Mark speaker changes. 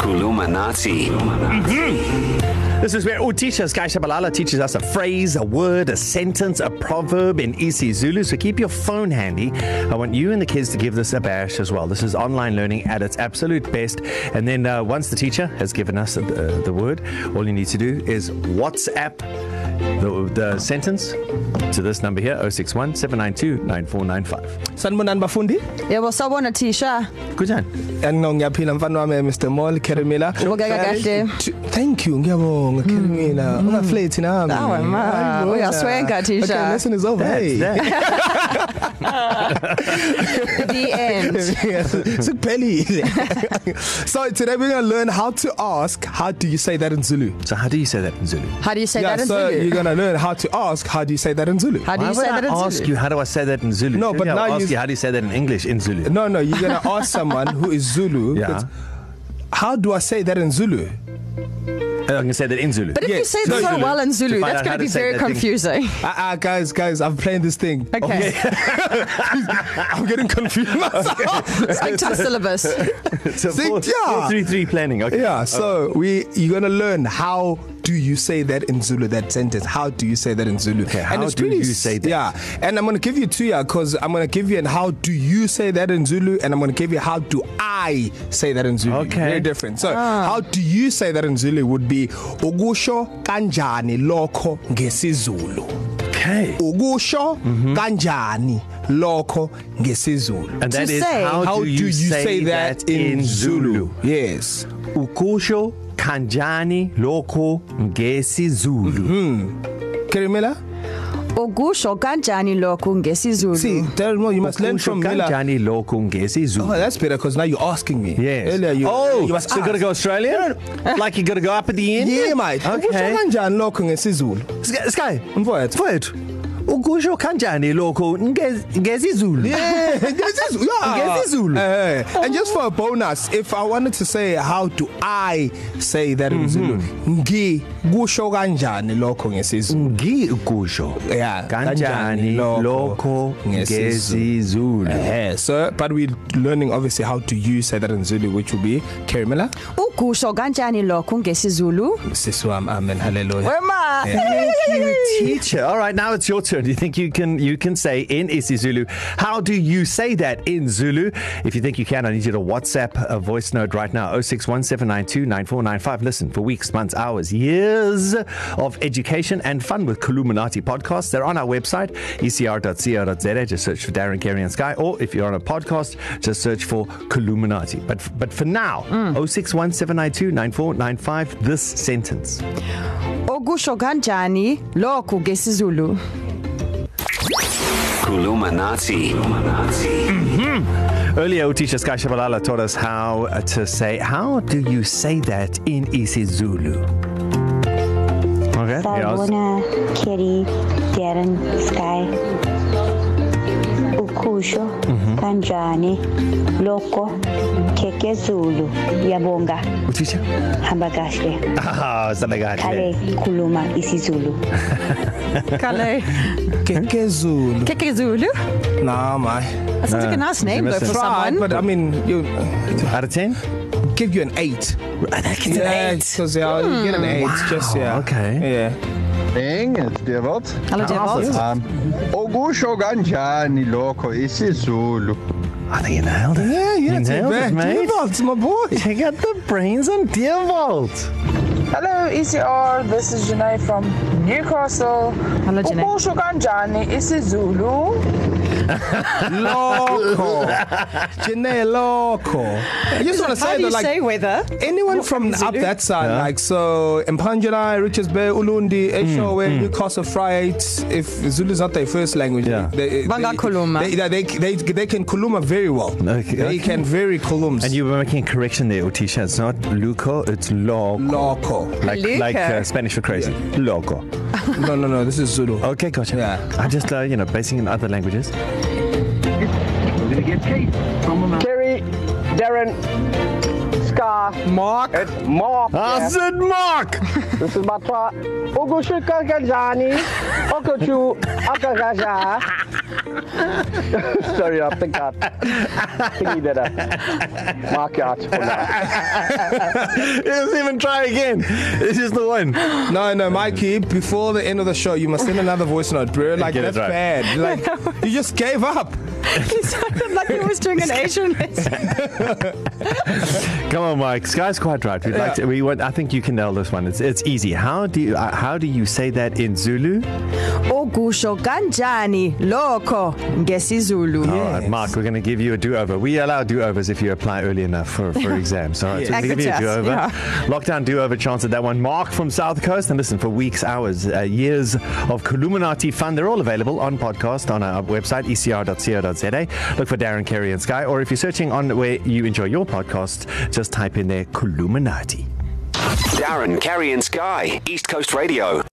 Speaker 1: Kulumanati.
Speaker 2: This is where oh, Utisha Sky Shabalala teaches us a phrase, a word, a sentence, a proverb in isiZulu. So keep your phone handy. I want you and the kids to give this a bash as well. This is online learning at its absolute best. And then uh, once the teacher has given us uh, the word, all you need to do is WhatsApp the, the sentence to this number here 061 792 9495.
Speaker 3: sanibonani bafundi
Speaker 4: yebo sawubona thisha
Speaker 2: Good time.
Speaker 3: no ngiyaphila mfana wami mr mall carimila
Speaker 4: Ubukeka kahle.
Speaker 3: thank you ngiyabonga carimila ungaflate nami
Speaker 4: Awe, Hmm. ma,
Speaker 3: Hayi, bona.
Speaker 4: uyaswenga, Thisha.
Speaker 3: okay lesson is over hey
Speaker 4: the end
Speaker 3: Yes, sikuphelile so today we're going to learn how to ask how do you say that in zulu
Speaker 2: So, how do you say that in Zulu?
Speaker 4: how do you say
Speaker 3: yeah
Speaker 4: that in
Speaker 3: so
Speaker 4: Zulu?
Speaker 3: you're going to learn how to ask how do you say that in zulu
Speaker 4: how do
Speaker 2: Why
Speaker 4: you
Speaker 2: would
Speaker 4: say
Speaker 2: I
Speaker 4: that in
Speaker 2: ask
Speaker 4: Zulu?
Speaker 2: you how do I say that in Zulu?
Speaker 3: No,
Speaker 2: Maybe
Speaker 3: but
Speaker 2: I'll
Speaker 3: now
Speaker 2: ask
Speaker 3: you-
Speaker 2: you how do you say that in English in Zulu?
Speaker 3: no no you're going to ask someone who is zulu
Speaker 2: Yeah.
Speaker 3: that's, how do i say that in zulu
Speaker 2: I can say that in Zulu.
Speaker 4: But if
Speaker 3: Yeah,
Speaker 4: you say
Speaker 3: no,
Speaker 4: this so
Speaker 3: Zulu.
Speaker 4: well in
Speaker 2: To
Speaker 4: Zulu,
Speaker 2: find
Speaker 4: that's
Speaker 2: out how
Speaker 4: going to
Speaker 2: to
Speaker 4: be
Speaker 2: say
Speaker 4: very
Speaker 2: that thing.
Speaker 4: confusing.
Speaker 3: Ah, uh, uh, guys, guys, I'm playing this thing.
Speaker 4: Okay.
Speaker 3: I'm getting confused. myself.
Speaker 4: Stick to the syllabus.
Speaker 2: It's a
Speaker 3: See,
Speaker 2: four,
Speaker 3: yeah.
Speaker 2: four, three, three planning. Okay.
Speaker 3: yeah, so we you're gonna learn how do you say that in Zulu? That sentence. How do you say that in Zulu? Okay,
Speaker 2: how do you say that?
Speaker 3: Yeah, and I'm gonna give you two, yeah, because I'm gonna give you an how do you say that in Zulu, and I'm gonna give you how do I say that in Zulu.
Speaker 2: Okay.
Speaker 3: very different. So ah. how do you say that in Zulu would be Ogusho kanjani lokho ngesizulu.
Speaker 2: Okay.
Speaker 3: ukusho kanjani lokho ngesizulu
Speaker 2: Mm-hmm. And that
Speaker 4: To
Speaker 2: is
Speaker 4: say-
Speaker 2: how,
Speaker 3: how do you say, say that, that in zulu yes
Speaker 2: Ukosho kanjani loko ngesi
Speaker 3: Mm-hmm.
Speaker 2: Zulu.
Speaker 3: kerimela
Speaker 4: Ugusho kanjani lokhu ngesiZulu?
Speaker 3: see tell me you must learn
Speaker 2: Ukosho
Speaker 3: from mila
Speaker 2: kanjani loko ngesi
Speaker 3: oh
Speaker 2: Zulu.
Speaker 3: that's better because now you're asking me
Speaker 2: Yes.
Speaker 3: earlier you
Speaker 2: oh,
Speaker 3: you must
Speaker 2: so you gotta
Speaker 3: ask.
Speaker 2: go Australian? like you gotta go up at the end?
Speaker 3: yeah mate ukusho
Speaker 2: Okay.
Speaker 3: kanjani lokho ngesizulu
Speaker 2: Sky, Sky.
Speaker 3: mfowethu
Speaker 2: Mfowethu. Ukosho kanjani loko ngesi ngesi Zulu.
Speaker 3: Yeah, ngesiZulu. Yeah.
Speaker 2: NgesiZulu.
Speaker 3: Eh, eh. And just for a bonus, if I wanted to say how do I say that in Zulu? Ngi kusho kanjani lokho ngesiZulu?
Speaker 2: Ngi ukosho.
Speaker 3: Yeah,
Speaker 2: Kanjani
Speaker 3: kanjani lokho
Speaker 2: loko ngesi
Speaker 3: ngesiZulu.
Speaker 2: Zulu.
Speaker 3: Yeah, so but we're learning obviously how to use that in Zulu, which will be Kerimela.
Speaker 4: Ugusho kanjani lokhu ngesiZulu?
Speaker 3: Siswam, amen, um, hallelujah.
Speaker 4: Wema.
Speaker 2: teacher. All right, now it's your turn. Do you think you can you can say in isiZulu? How do you say that in Zulu? If you think you can, I need you to WhatsApp a voice note right now 0617929495. Listen for weeks, months, hours, years of education and fun with Kuluminati podcasts. They're on our website E ecr.co.za. Just search for Darren Carey and Sky, or if you're on a podcast, just search for Kuluminati. But but for now, mm. 0617929495. This sentence.
Speaker 4: Ugusho kanjani lokhu ngesiZulu?
Speaker 1: Kulumanati. Kulumanati.
Speaker 2: Earlier, teacher Sky Shabalala taught us how uh, to say, how do you say that in isiZulu? Okay. Yeah,
Speaker 5: Sawubona Kitty, Darren, Sky. Ukusho kanjani lokho kekezulu yabonga
Speaker 2: teacher.
Speaker 5: hamba kahle
Speaker 2: Ah,
Speaker 5: khale
Speaker 2: Zanagani.
Speaker 5: khuluma isiZulu
Speaker 4: Kale.
Speaker 3: Kekezulu.
Speaker 4: KekeZulu?
Speaker 3: Nah, my.
Speaker 4: That sounds like a nice name
Speaker 2: you
Speaker 4: though
Speaker 2: missed
Speaker 4: for
Speaker 2: it.
Speaker 3: Right,
Speaker 4: someone.
Speaker 3: but I mean, you
Speaker 2: Out of 10?
Speaker 3: give you an eight.
Speaker 2: That's
Speaker 3: Yeah, because yeah, mm. you get an eight. Wow. Just yeah.
Speaker 2: okay.
Speaker 3: Yeah.
Speaker 6: Eng, it's Devot.
Speaker 4: Hello Devils.
Speaker 2: Uh,
Speaker 6: Um, Ogusho ganjani lokho isiZulu.
Speaker 2: I think you nailed it.
Speaker 3: Yeah, yeah.
Speaker 2: you nailed it, mate.
Speaker 3: It's my boy.
Speaker 2: Check out the brains on Deervolt.
Speaker 7: Hello ECR, this is Janae from Newcastle.
Speaker 4: Hello, Janae.
Speaker 7: Ukusho kanjani isiZulu?
Speaker 3: Loco. Jene Loco. I just want to say that, like,
Speaker 4: weather?
Speaker 3: anyone from up that side, yeah. like so Mpanjula, Richards Bay, Ulundi, Eshowe, mm, mm. Newcastle Friars, if Zulu's not their first language,
Speaker 2: Yeah.
Speaker 3: they, they,
Speaker 4: Banga Khuluma.
Speaker 3: They, they, they, they, they can Kuluma very well.
Speaker 2: Okay,
Speaker 3: they
Speaker 2: okay.
Speaker 3: can very Kulums.
Speaker 2: And you were making a correction there, Utisha. It's not Luco, it's Loco.
Speaker 3: Loco.
Speaker 2: Like, like
Speaker 4: Loco.
Speaker 2: uh, Spanish for crazy. Yeah. Loco.
Speaker 3: no, no, no, this is Zulu.
Speaker 2: Okay, gotcha.
Speaker 3: Yeah.
Speaker 2: I just, uh, you know, basing in other languages.
Speaker 8: Kerry, Darren, Ugushika.
Speaker 3: Mark.
Speaker 8: It's Mark.
Speaker 2: I said Mark.
Speaker 8: This is my try. Ugushika Gajani. Okochu Akagaja. Sorry, I think I thingy did a mark out for that.
Speaker 2: He doesn't even try again. This is the one.
Speaker 3: No, no, Mikey, before the end of the show, you must send another voice note, bro. Like,
Speaker 2: Get it
Speaker 3: that's
Speaker 2: right.
Speaker 3: bad. Like, you just gave up.
Speaker 4: He sounded like he was doing an Asian lesson.
Speaker 2: Come on, Mike. Sky's quite right. We'd like
Speaker 3: Yeah.
Speaker 2: to, we want, I think you can nail this one. It's, it's easy. How do you, uh, how do you say that in Zulu?
Speaker 4: Ogusho kanjani lokho ngesiZulu.
Speaker 2: All right, Mark, we're going to give you a do-over. We allow do-overs if you apply early enough for, for exams. All right, so
Speaker 4: Yeah.
Speaker 2: we're going to give you a
Speaker 4: Exit test,
Speaker 2: do-over.
Speaker 4: yeah.
Speaker 2: Lockdown do-over chance at that one. Mark from South Coast. And listen, for weeks, hours, uh, years of Columinati fun, they're all available on podcast on our website, E ecr.co.za. Look for Darren, Kerry and Sky. Or if you're searching on where you enjoy your podcast, just type in there, Columinati.
Speaker 1: Darren, Carrie, and Sky, East Coast Radio.